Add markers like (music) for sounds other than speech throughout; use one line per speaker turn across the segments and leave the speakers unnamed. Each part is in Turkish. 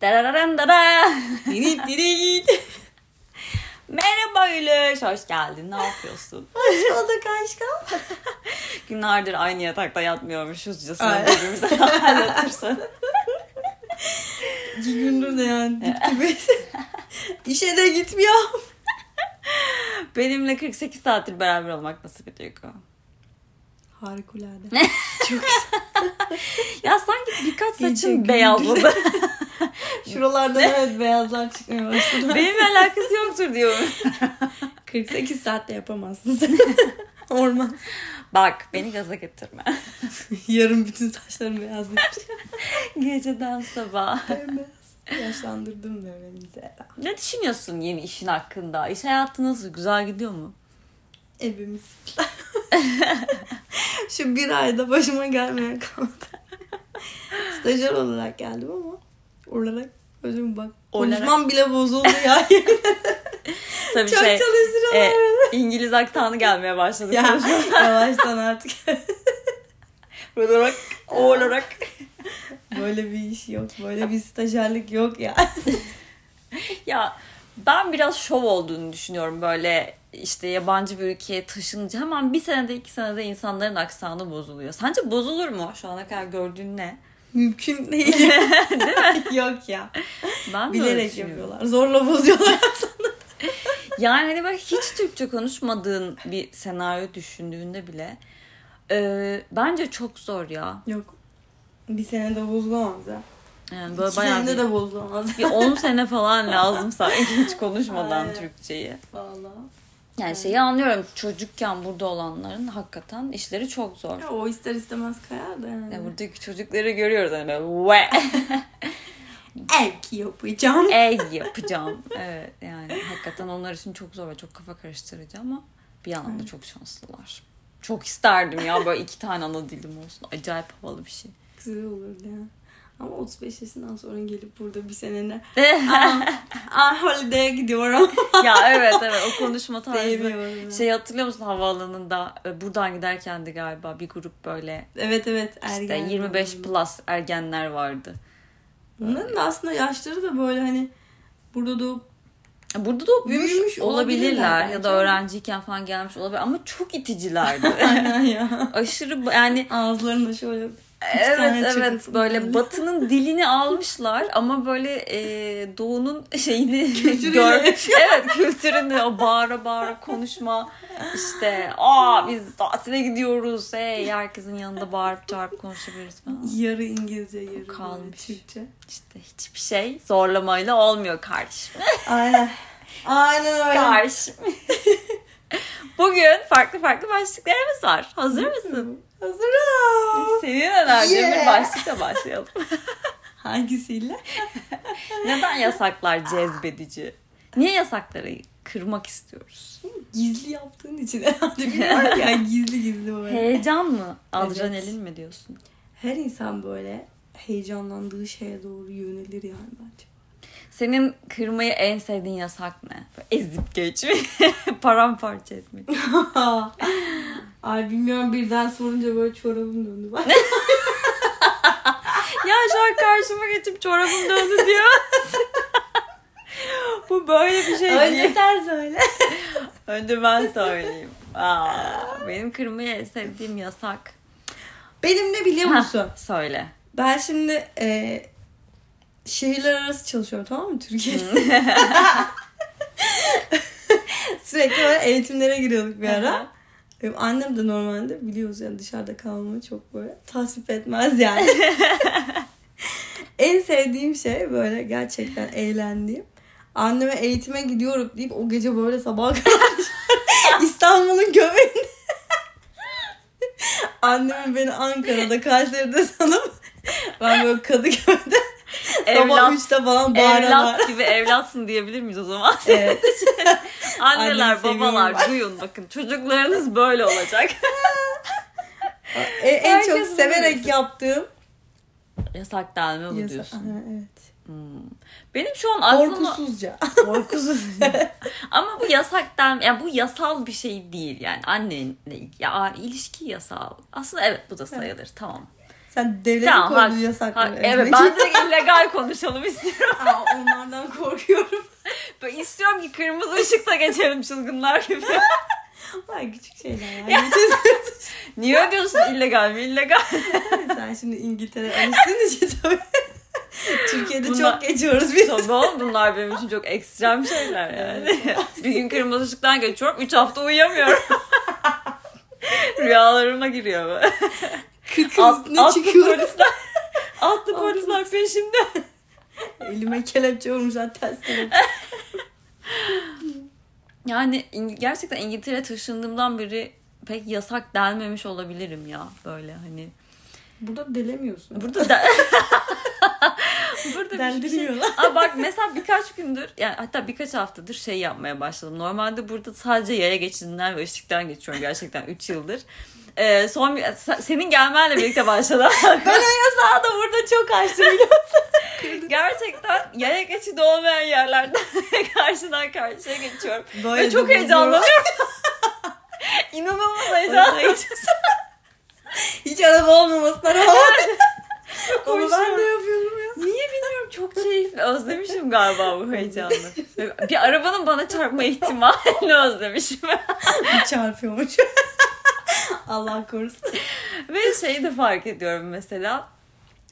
Darararan dara.
Diri diri git.
(laughs) Merhaba Gülüş, hoş geldin. Ne
(laughs)
yapıyorsun?
Hoş bulduk aşkım.
Günlerdir aynı yatakta yatmıyormuşuzcasına
Ay.
birbirimize (laughs) hal atırsan.
İki gündür de yani dip gibi. İşe de gitmiyorum.
(laughs) Benimle 48 saattir beraber olmak nasıl bir duygu?
Harikulade. Çok güzel.
Ya sanki birkaç
İyice
saçın beyazladı.
(laughs) Şuralardan evet beyazlar çıkmaya (laughs) başladı.
Benimle alakası yoktur diyorum.
48 saatte yapamazsın (laughs) sen. Orman.
Bak beni gaza
(laughs)
getirme.
Yarın bütün saçlarım beyazlayacak.
Geceden sabah.
Beyaz. Yaşlandırdım böyle bize.
Ne düşünüyorsun yeni işin hakkında? İş hayatı nasıl? Güzel gidiyor mu?
Evimiz. (laughs) Şu bir ayda başıma gelmeyen kalmadı. Stajyer olarak geldim ama olarak özüm bak.
Olarak.
Konuşmam bile bozuldu ya. (laughs)
Tabii
Çok
şey e,
çalıştırıyorlar.
İngiliz aktanı gelmeye başladı.
Ya, (laughs) yavaştan artık.
olarak, olarak.
Böyle bir iş yok. Böyle bir stajyerlik yok ya. (laughs)
Ya ben biraz şov olduğunu düşünüyorum böyle işte yabancı bir ülkeye taşınınca hemen bir senede iki senede insanların aksanı bozuluyor. Sence bozulur mu? Şu ana kadar gördüğün ne?
Mümkün (laughs) değil. yok ya.
Ben de öyle
Bilerek
düşünüyorum.
yapıyorlar. Zorla bozuyorlar.
Yani hani böyle hiç Türkçe konuşmadığın bir senaryo düşündüğünde bile e, bence çok zor ya.
(laughs) yok. Bir senede bozulamaz ya.
Yani
Bir
böyle bayağı
senede
bir,
de bozulamaz. (laughs)
bir 10 sene falan lazım sanki hiç konuşmadan
Aynen.
Türkçeyi.
Valla.
Yani şeyi anlıyorum çocukken burada olanların hakikaten işleri çok zor.
Ya, o ister istemez kayar da yani.
Ya buradaki çocukları görüyoruz hani böyle ve
Ek yapacağım.
ey yapacağım. (laughs) Evet yani hakikaten onlar için çok zor ve çok kafa karıştırıcı ama bir yandan da çok şanslılar. Çok isterdim ya böyle iki tane ana dilim olsun. Acayip havalı bir
(laughs)
şey.
(laughs) Güzel olurdu ya. Ama 35 yaşından sonra gelip burada bir senene
Aa,
(laughs) ah holiday'e (laughs) gidiyorum.
ya evet evet o konuşma tarzı.
Sevmiyorum. ya.
Şey hatırlıyor musun havaalanında e, buradan giderken de galiba bir grup böyle
evet evet
işte
ergen.
25 plus ergenler vardı.
Bunların da aslında yaşları da böyle hani burada doğup (laughs)
Burada da büyümüş,
Büyümüş
olabilirler,
olabilirler
ya
bence.
da öğrenciyken falan gelmiş olabilir ama çok iticilerdi.
(laughs) aynen ya.
Aşırı bu- yani
Ağızlarında şöyle tane
evet evet
çıkıntı
böyle
böyle.
batının dilini almışlar ama böyle e, doğunun şeyini
Kültürüyle
gör- evet kültürünü o bağıra bağıra konuşma işte aa biz tatile gidiyoruz hey herkesin yanında bağırıp çağırıp konuşabiliriz falan.
yarı İngilizce yarı böyle
Kalmış.
Türkçe.
İşte hiçbir şey zorlamayla olmuyor kardeşim.
Aynen. Aynen öyle.
Karşı. (laughs) Bugün farklı farklı başlıklarımız var. Hazır mısın?
Hazırım.
Senin önerdiğin
Yeah.
bir başlıkla başlayalım.
Hangisiyle?
Neden yasaklar cezbedici? Niye yasakları kırmak istiyoruz?
Gizli yaptığın için herhalde bilmiyorum ya gizli gizli böyle.
Heyecan mı? Adrenalin
Evet.
mi diyorsun?
Her insan böyle heyecanlandığı şeye doğru yönelir yani bence.
(laughs) Senin kırmayı en sevdiğin yasak ne? Böyle Ezip geçmek, (laughs) paramparça etmek.
Ay bilmiyorum birden sorunca böyle
(laughs)
çorabım döndü. Bak.
ya şu an karşıma geçip çorabım döndü diyor. (laughs) Bu böyle bir şey değil.
sen söyle.
Önce ben söyleyeyim. Aa, benim kırmayı en sevdiğim yasak.
Benim ne biliyor musun?
Heh, Söyle.
ben şimdi e, şehirler arası çalışıyorum tamam mı Türkiye'de? (laughs) Sürekli böyle eğitimlere giriyorduk bir
Hı hı.
ara. Benim annem de normalde biliyoruz yani dışarıda kalmayı çok böyle tasvip
(laughs)
etmez yani. en sevdiğim şey böyle gerçekten eğlendiğim. Anneme eğitime gidiyorum deyip o gece böyle sabaha kadar
(laughs)
İstanbul'un göbeğinde. Annemin beni Ankara'da Kayseri'de sanıp ben böyle Kadıköy'de sabah
Evlat,
3'te falan bağırarak.
evlat gibi evlatsın diyebilir miyiz o zaman?
Evet.
Anneler,
Annemi seviyorum
babalar duyun bakın çocuklarınız böyle olacak.
E, en çok
Herkes bunu
severek
bilsin.
yaptığım
(laughs) Yasak denme bu
Yasa-
diyorsun.
Aha, evet.
Hmm. Benim şu an aklıma...
Korkusuzca.
Korkusuz.
(laughs)
Ama bu yasak denme... Yani bu yasal bir şey değil yani. Annenle ilgili. Ya, ilişki yasal. Aslında evet bu da sayılır. Tamam.
Sen devletin
Tamam,
koyduğu
hak-
yasakları.
Ha, evet ben de (laughs) illegal konuşalım istiyorum.
Aa, onlardan korkuyorum.
Ben istiyorum ki kırmızı ışıkta geçelim çılgınlar (laughs) gibi.
(laughs) Ay küçük şeyler ya.
Niye diyorsun illegal mi illegal?
Sen şimdi İngiltere alıştığın için tabii. (laughs) Türkiye'de
Bunlar-
çok geçiyoruz biz.
Tabii oğlum bunlar benim için çok ekstrem şeyler yani. (laughs) bir gün kırmızı ışıktan geçiyorum. Üç hafta uyuyamıyorum. (laughs) Rüyalarıma giriyor böyle. At,
Kıkırız ne
atlı
çıkıyor?
polisler. Atlı polisler peşimde.
(laughs) Elime kelepçe vurmuşlar ters kelepçe.
Yani İng- gerçekten İngiltere taşındığımdan beri pek yasak delmemiş olabilirim ya böyle hani.
Burada delemiyorsun.
Burada da (laughs) Burada bir şey.
Deldiriyorlar.
Aa bak mesela birkaç gündür yani hatta birkaç haftadır şey yapmaya başladım. Normalde burada sadece yaya geçidinden ve ışıktan geçiyorum gerçekten 3 yıldır. Ee, son bir- se- senin gelmenle birlikte başladı.
Ben o yasağı da burada çok açtım biliyor
gerçekten yaya geçidi olmayan yerlerden (laughs) karşıdan karşıya geçiyorum.
musun?
Ve çok heyecanlanıyorum. İnanılmaz heyecanlanıyorum.
Hiç araba
(laughs)
olmamasına rağmen. Onu ben
Koşuyorum.
de yapıyorum ya.
Niye bilmiyorum çok keyifli. Özlemişim galiba bu heyecanı. Bir arabanın bana çarpma ihtimalini (laughs) özlemişim.
Bir çarpıyormuş. (laughs) Allah korusun.
Ve şeyi de fark ediyorum mesela.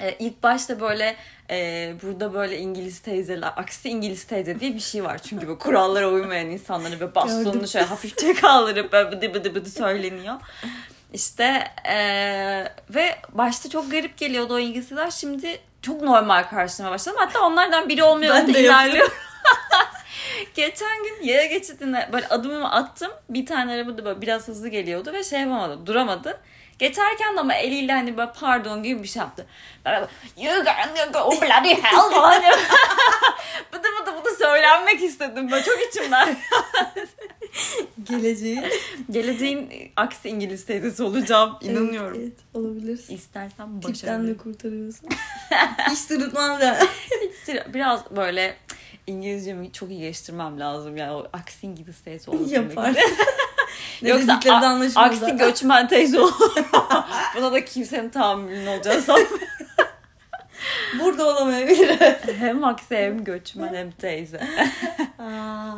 Ee, ilk başta böyle e, burada böyle İngiliz teyzeler, aksi İngiliz teyze diye bir şey var. Çünkü bu kurallara uymayan insanları ve bastonunu
Gördüm.
şöyle hafifçe kaldırıp böyle bıdı bıdı bıdı söyleniyor. İşte e, ve başta çok garip geliyordu o İngiliz teyzeler. Şimdi çok normal karşıma başladım. Hatta onlardan biri olmuyor.
Ben
Ben
de
ilerliyorum. (laughs) Geçen gün yaya geçidine böyle adımımı attım. Bir tane araba da böyle biraz hızlı geliyordu ve şey yapamadı, duramadı. Geçerken de ama eliyle hani böyle pardon gibi bir şey yaptı. Ben böyle, you gonna go bloody hell (laughs) falan. diye- bıdı bıdı bıdı söylenmek istedim böyle çok içimden.
Geleceği.
(laughs) Geleceğin aksi İngiliz teyzesi olacağım inanıyorum.
Evet, evet, olabilirsin.
İstersen
Tipten de
başarılı.
kurtarıyorsun. Hiç sırıtmam da.
Biraz böyle İngilizcemi çok iyi geliştirmem lazım yani o aksi İngiliz teyze
(laughs)
olabilmek
Yapar. ne
Yoksa
Yoksa
a-
dedikleri de
Aksi
Aksi
göçmen teyze olur. Buna da kimsenin tahammülünün olacağını sanmıyorum.
(laughs) Burada olamayabilir.
hem aksi hem göçmen hem teyze.
Aa,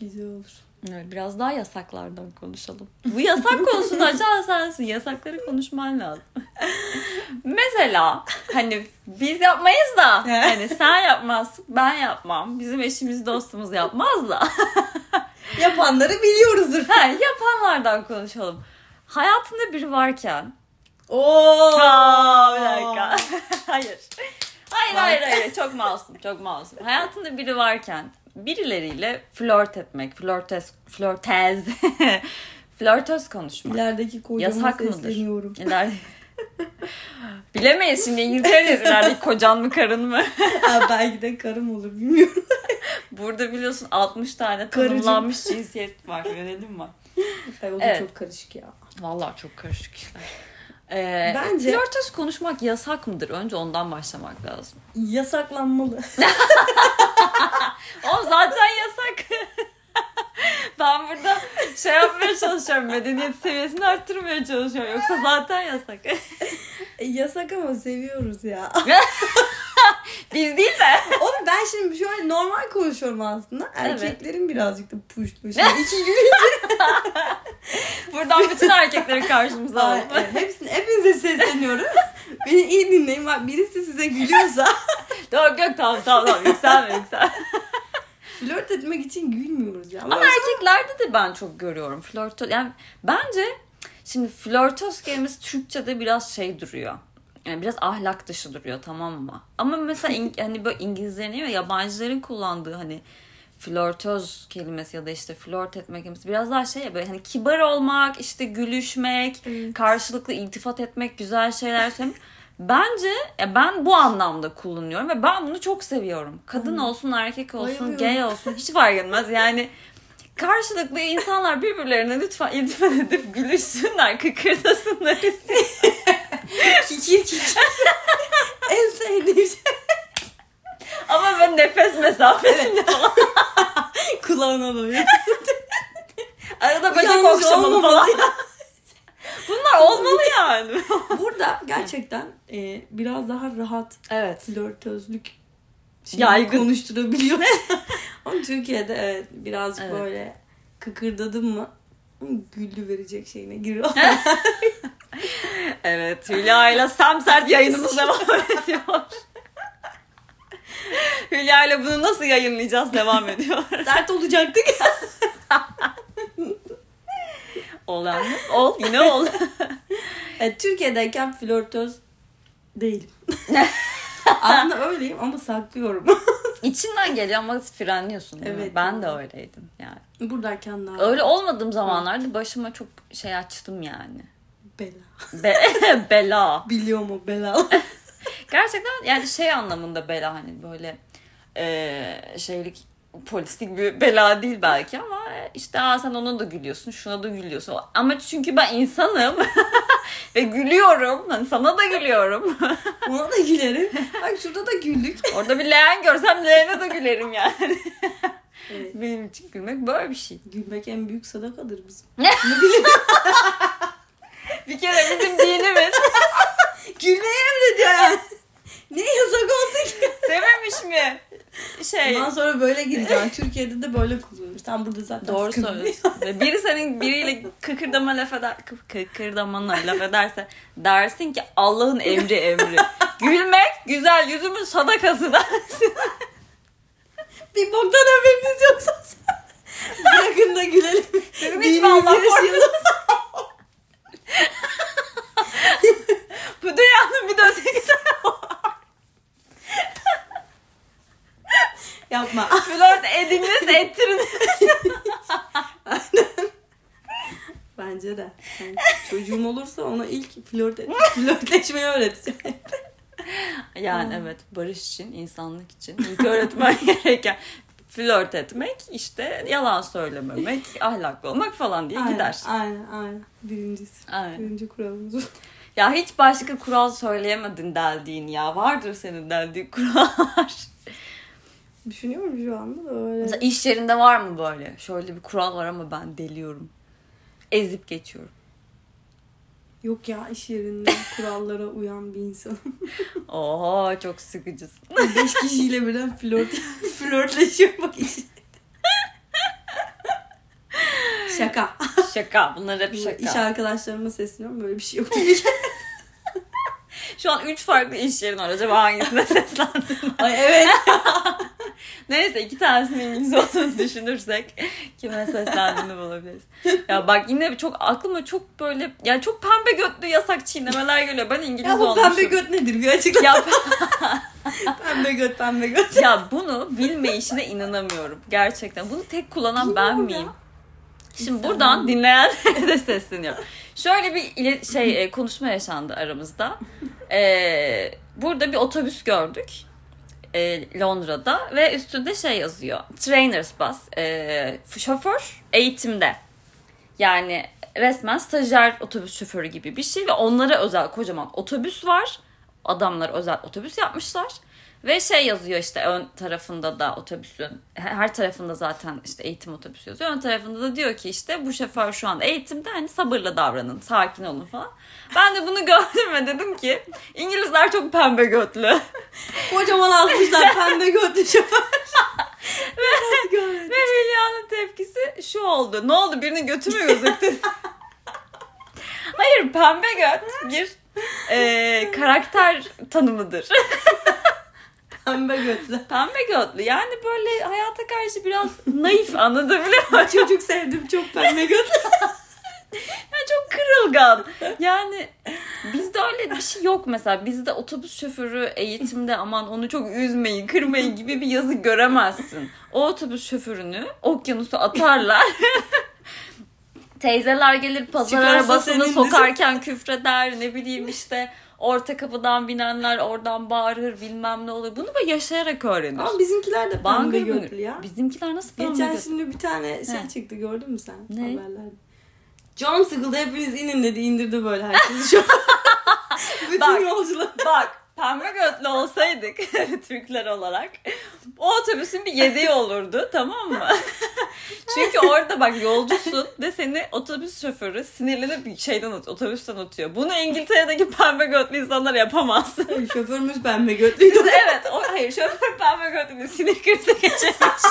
güzel olur.
Evet, biraz daha yasaklardan konuşalım. Bu yasak konusunu açan sensin. Yasakları konuşman lazım. Mesela hani biz yapmayız da hani sen yapmazsın ben yapmam. Bizim eşimiz dostumuz yapmaz da.
Yapanları biliyoruzdur.
Ha, yapanlardan konuşalım. Hayatında biri varken
Oo.
Aa, bir dakika. (laughs) hayır. Hayır hayır hayır. Çok masum. Çok masum. Hayatında biri varken birileriyle flört etmek, flörtes, flörtez, (laughs) flörtöz konuşmak.
İlerideki kocama
Yasak mıdır? (laughs)
sesleniyorum.
İleride... Bilemeyiz şimdi İngiltere'deyiz ileride kocan mı karın mı?
Aa, belki de karım olur bilmiyorum.
Burada biliyorsun 60 tane
Karıcığım.
tanımlanmış cinsiyet var. Yönelim var.
Ay, o da
Evet.
çok karışık ya.
Vallahi çok karışık işler. Ee,
Bence-
Flörtöz konuşmak yasak mıdır? Önce ondan başlamak lazım.
Yasaklanmalı. (laughs)
O zaten yasak. (laughs) ben burada şey yapmaya çalışıyorum. Medeniyet seviyesini arttırmaya çalışıyorum. Yoksa zaten yasak. (laughs)
E, Yasak ama seviyoruz ya.
Biz değil mi?
Oğlum ben şimdi şöyle normal konuşuyorum aslında.
Evet.
Erkeklerin birazcık da puştu.
(laughs)
Şimdi iki gün
Buradan bütün erkekleri karşımıza
Ay,
alalım.
evet, hepsini,
(laughs)
hepinize sesleniyorum. Beni iyi dinleyin. Bak birisi size gülüyorsa (laughs)
Yok yok tamam tamam tamam yükselme yükselme.
flört etmek için gülmüyoruz ya.
Ama erkeklerde de ben çok görüyorum flörtöz. Yani bence şimdi flörtöz kelimesi Türkçe'de biraz şey duruyor. Yani biraz ahlak dışı duruyor tamam mı? Ama mesela İng- hani böyle İngilizlerin ve yabancıların kullandığı hani flörtöz kelimesi ya da işte flört etmek kelimesi biraz daha şey ya böyle hani kibar olmak, işte gülüşmek,
Evet.
karşılıklı iltifat etmek, güzel şeyler söylemek. Bence ya ben bu anlamda kullanıyorum ve ben bunu çok seviyorum. Kadın olsun, erkek olsun,
Bayılıyorum.
gay olsun hiç fark etmez. Yani karşılıklı insanlar birbirlerine lütfen iltifat edip gülüşsünler, kıkırdasınlar istiyorum.
(laughs) kikir kikir. en sevdiğim şey (laughs)
Ama ben nefes mesafesinde falan.
kulağına böyle.
(laughs) Arada bacak
Yalnız
okşamalı
olmamalı
falan. Bunlar var olmalı yani.
Burada gerçekten e, biraz daha rahat
evet.
flörtözlük şeyi
Yaygın. (laughs)
konuşturabiliyoruz. Ama Türkiye'de evet birazcık
Evet.
böyle kıkırdadın mı güllü verecek
(laughs)
şeyine giriyor.
Evet Hülya ile Samsert yayınımız devam ediyor. Hülya ile bunu nasıl yayınlayacağız devam ediyor.
Sert olacaktık.
Olan ol yine ol.
E, Türkiye'deyken flörtöz değilim.
(laughs)
Aslında öyleyim ama saklıyorum. (laughs)
İçinden geliyor ama frenliyorsun değil mi?
Evet.
Ben de öyleydim yani.
Buradayken daha
Öyle olmadığım zamanlarda başıma çok şey açtım yani.
bela.
Be- (laughs) bela.
Biliyor mu bela?
Gerçekten yani şey anlamında bela hani böyle eee, şeylik polislik bir bela değil belki ama işte Aa, sen ona da gülüyorsun şuna da gülüyorsun ama çünkü ben insanım (laughs) ve gülüyorum Hani sana da gülüyorum
(laughs)
(laughs)
Ona da gülerim. Bak şurada da güldük.
orada bir leğen görsem leğene de gülerim yani (laughs)
Evet,
benim için gülmek böyle bir şey
gülmek en büyük sadakadır bizim.
bir kere bizim dinimiz
Gülmeyi emrediyor yani. ne yasak olsun ki?
dememiş mi şey
Bundan sonra böyle gireceğim. Türkiye'de de böyle kullanıyoruz. Sen burada zaten
Doğru
sıkıntı yok.
söylüyorsun. Ve biri senin biriyle kıkırdama laf eder, kı- kıkırdamana laf ederse dersin ki Allah'ın emri emri. Gülmek güzel yüzümün sadakası dersin.
(laughs) Bir boktan haberiniz yoksa bırakın da gülelim.
Sizin hiç
Dinimizi
mi Allah
yaşayalım.
(laughs) Bu dünyanın bir de öteki tarafı.
(laughs) Yapma.
Flört ediniz ettiriniz.
Bence de. Yani çocuğum olursa ona ilk flört (laughs) flörtleşmeyi öğreteceğim.
Yani evet barış için, insanlık için ilk öğretmen (laughs) gereken flört etmek, işte yalan söylememek, ahlaklı olmak falan diye gider.
Aynen aynen. Birincisi.
Aynen.
Birinci kuralımız bu.
Ya hiç başka kural söyleyemedin deldiğin ya. Vardır senin deldiğin kurallar.
Düşünüyorum şu anda da öyle.
Mesela iş yerinde var mı böyle? Şöyle bir kural var ama ben deliyorum. Ezip geçiyorum.
Yok ya iş yerinde
(laughs)
kurallara uyan bir insanım.
Oha çok sıkıcısın.
Beş kişiyle
(laughs)
birden flört flörtleşiyor bak iş. Şaka.
Şaka. Bunlar hep şaka.
İş arkadaşlarıma sesleniyorum böyle bir
(laughs)
şey yok.
Şu an üç farklı iş yerin var. Acaba hangisine (laughs) seslendin?
Ay evet.
(laughs) Neyse iki tanesinin İngiliz olduğunu düşünürsek kime seslendiğini bulabiliriz. Ya bak yine çok aklıma çok böyle yani çok pembe götlü yasak çiğnemeler geliyor. Ben İngiliz
Ya bu
olmuşum.
pembe göt nedir? Bir açıkla.
Ya
Pembe göt, pembe göt.
ya bunu bilme işine inanamıyorum gerçekten. Bunu tek kullanan ben
Bilmiyorum ya.
miyim? Şimdi
İnsan
buradan dinleyenlere (laughs) de sesleniyorum. Şöyle bir ile- şey e, konuşma yaşandı aramızda. Ee, burada bir otobüs gördük. e, Londra'da ve üstünde şey yazıyor. Trainers bus. e, şoför eğitimde. Yani resmen stajyer otobüs şoförü gibi bir şey ve onlara özel kocaman otobüs var. Adamlar özel otobüs yapmışlar. Ve şey yazıyor işte ön tarafında da otobüsün her tarafında zaten işte eğitim otobüsü yazıyor. Ön tarafında da diyor ki işte bu şoför şu an eğitimde hani sabırla davranın, sakin olun falan. Ben de bunu (laughs) gördüm ve dedim ki İngilizler çok pembe götlü.
Kocaman almışlar pembe götlü şoför. Biraz
(laughs) Ve
göt.
Hülya'nın tepkisi şu oldu. Ne oldu birinin götü mü (laughs) gözüktü? Hayır pembe göt bir e, karakter tanımıdır.
Pembe götlü.
Pembe götlü yani böyle hayata karşı biraz naif anlatabiliyor muyum?
Ben çocuk sevdim çok pembe götlü.
Yani çok kırılgan. Yani bizde öyle bir şey yok mesela. Bizde otobüs şoförü eğitimde aman onu çok üzmeyin, kırmayın gibi bir yazı göremezsin. O otobüs şoförünü okyanusa atarlar. (laughs) Teyzeler gelir pazar
Çıkarsa
arabasını
senindir.
sokarken küfreder ne bileyim işte orta kapıdan binenler oradan bağırır bilmem ne olur. Bunu böyle yaşayarak öğrenir.
Ama bizimkiler de pembe
Bangır bangır.
götlü ya.
Bizimkiler nasıl pembe
Geçen
götlü?
şimdi bir tane şey
He.
çıktı gördün mü sen
Ne?
haberlerde? John sıkıldı hepiniz inin dedi indirdi böyle herkesi şu an. Bütün
Bak.
yolcular.
Bak pembe götlü (laughs) olsaydık Türkler olarak o otobüsün bir yediği olurdu tamam mı? Çünkü orada bak yolcusun ve seni otobüs şoförü sinirlenip şeyden at- otobüsten atıyor. Bunu İngiltere'deki pembe götlü insanlar yapamaz. (laughs)
Şoförümüz pembe götlüydü.
evet. O, hayır şoför pembe götlü sinir krizi geçirmiş.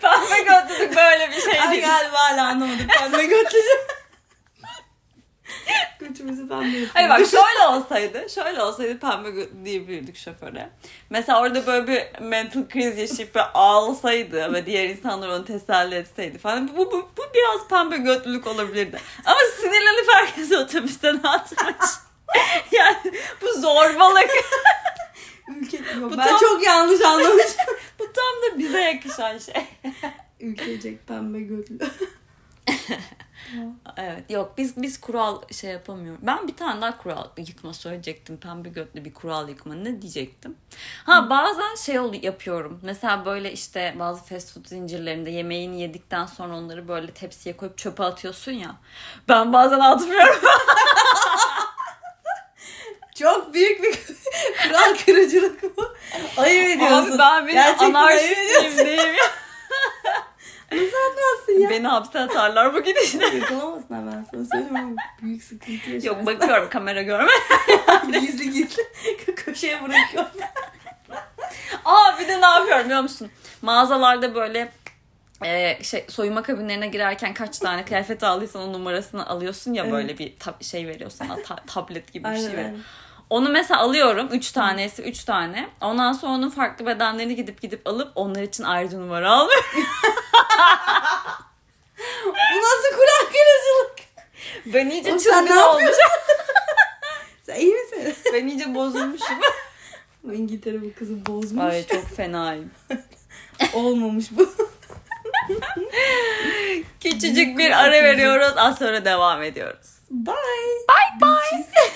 pembe götlülük böyle bir şey
Ay
değil.
galiba hala anlamadım. Pembe götlü. Götümüzü pembe yapıyor.
Hayır bak şöyle olsaydı, şöyle olsaydı pembe gö- diyebilirdik şoföre. Mesela orada böyle bir mental kriz yaşayıp böyle ağlasaydı ve diğer insanlar onu teselli etseydi falan. Bu, bu, bu biraz pembe götlülük olabilirdi. Ama sinirlenip herkesi otobüsten atmış. (laughs) yani bu zorbalık.
Ülke... Yok,
Bu
ben
tam-
çok yanlış anlamışım.
(laughs) bu tam da bize yakışan şey.
Ülkecek pembe götlü.
Evet yok biz biz kural şey yapamıyoruz. Ben bir tane daha kural yıkma söyleyecektim. Pembe götlü bir kural yıkma ne diyecektim. Ha bazen şey ol yapıyorum. Mesela böyle işte bazı fast food zincirlerinde yemeğini yedikten sonra onları böyle tepsiye koyup çöpe atıyorsun ya. Ben bazen (laughs) atmıyorum.
Çok büyük bir kural kırıcılık bu. Ayıp
Abi
ediyorsun.
ben bir
Gerçekten ayıp
anarşistiyim diyeyim.
ediyorsun
(laughs)
ya.
Beni hapse atarlar bu gidişle.
Yakalamazsın ha ben sana söyleyeyim ama büyük sıkıntı yaşarsın.
Yok bakıyorum kamera görme.
gizli gizli (laughs) köşeye bırakıyor.
Aa bir de ne yapıyorum biliyor musun? Mağazalarda böyle e, şey soyunma kabinlerine girerken kaç tane kıyafet aldıysan onun numarasını alıyorsun ya
Evet.
böyle bir tab- şey veriyor sana ta- tablet gibi bir
Aynen.
şey veriyor.
aynen.
Onu mesela alıyorum 3 tanesi 3 tane. Ondan sonra onun farklı bedenlerini gidip gidip alıp onlar için ayrıca numara alıyorum.
(laughs) Bu nasıl kural kırıcılık?
Ben iyice
Oğlum sen ne
çılgın olmuş.
Sen iyi misin? (laughs)
Ben iyice bozulmuşum.
Bu İngiltere bu kızı bozmuş.
Ay çok
(laughs)
fenayım.
Olmamış bu. (laughs)
Küçücük bir ara veriyoruz. Az sonra devam ediyoruz.
Bye. Bye bye.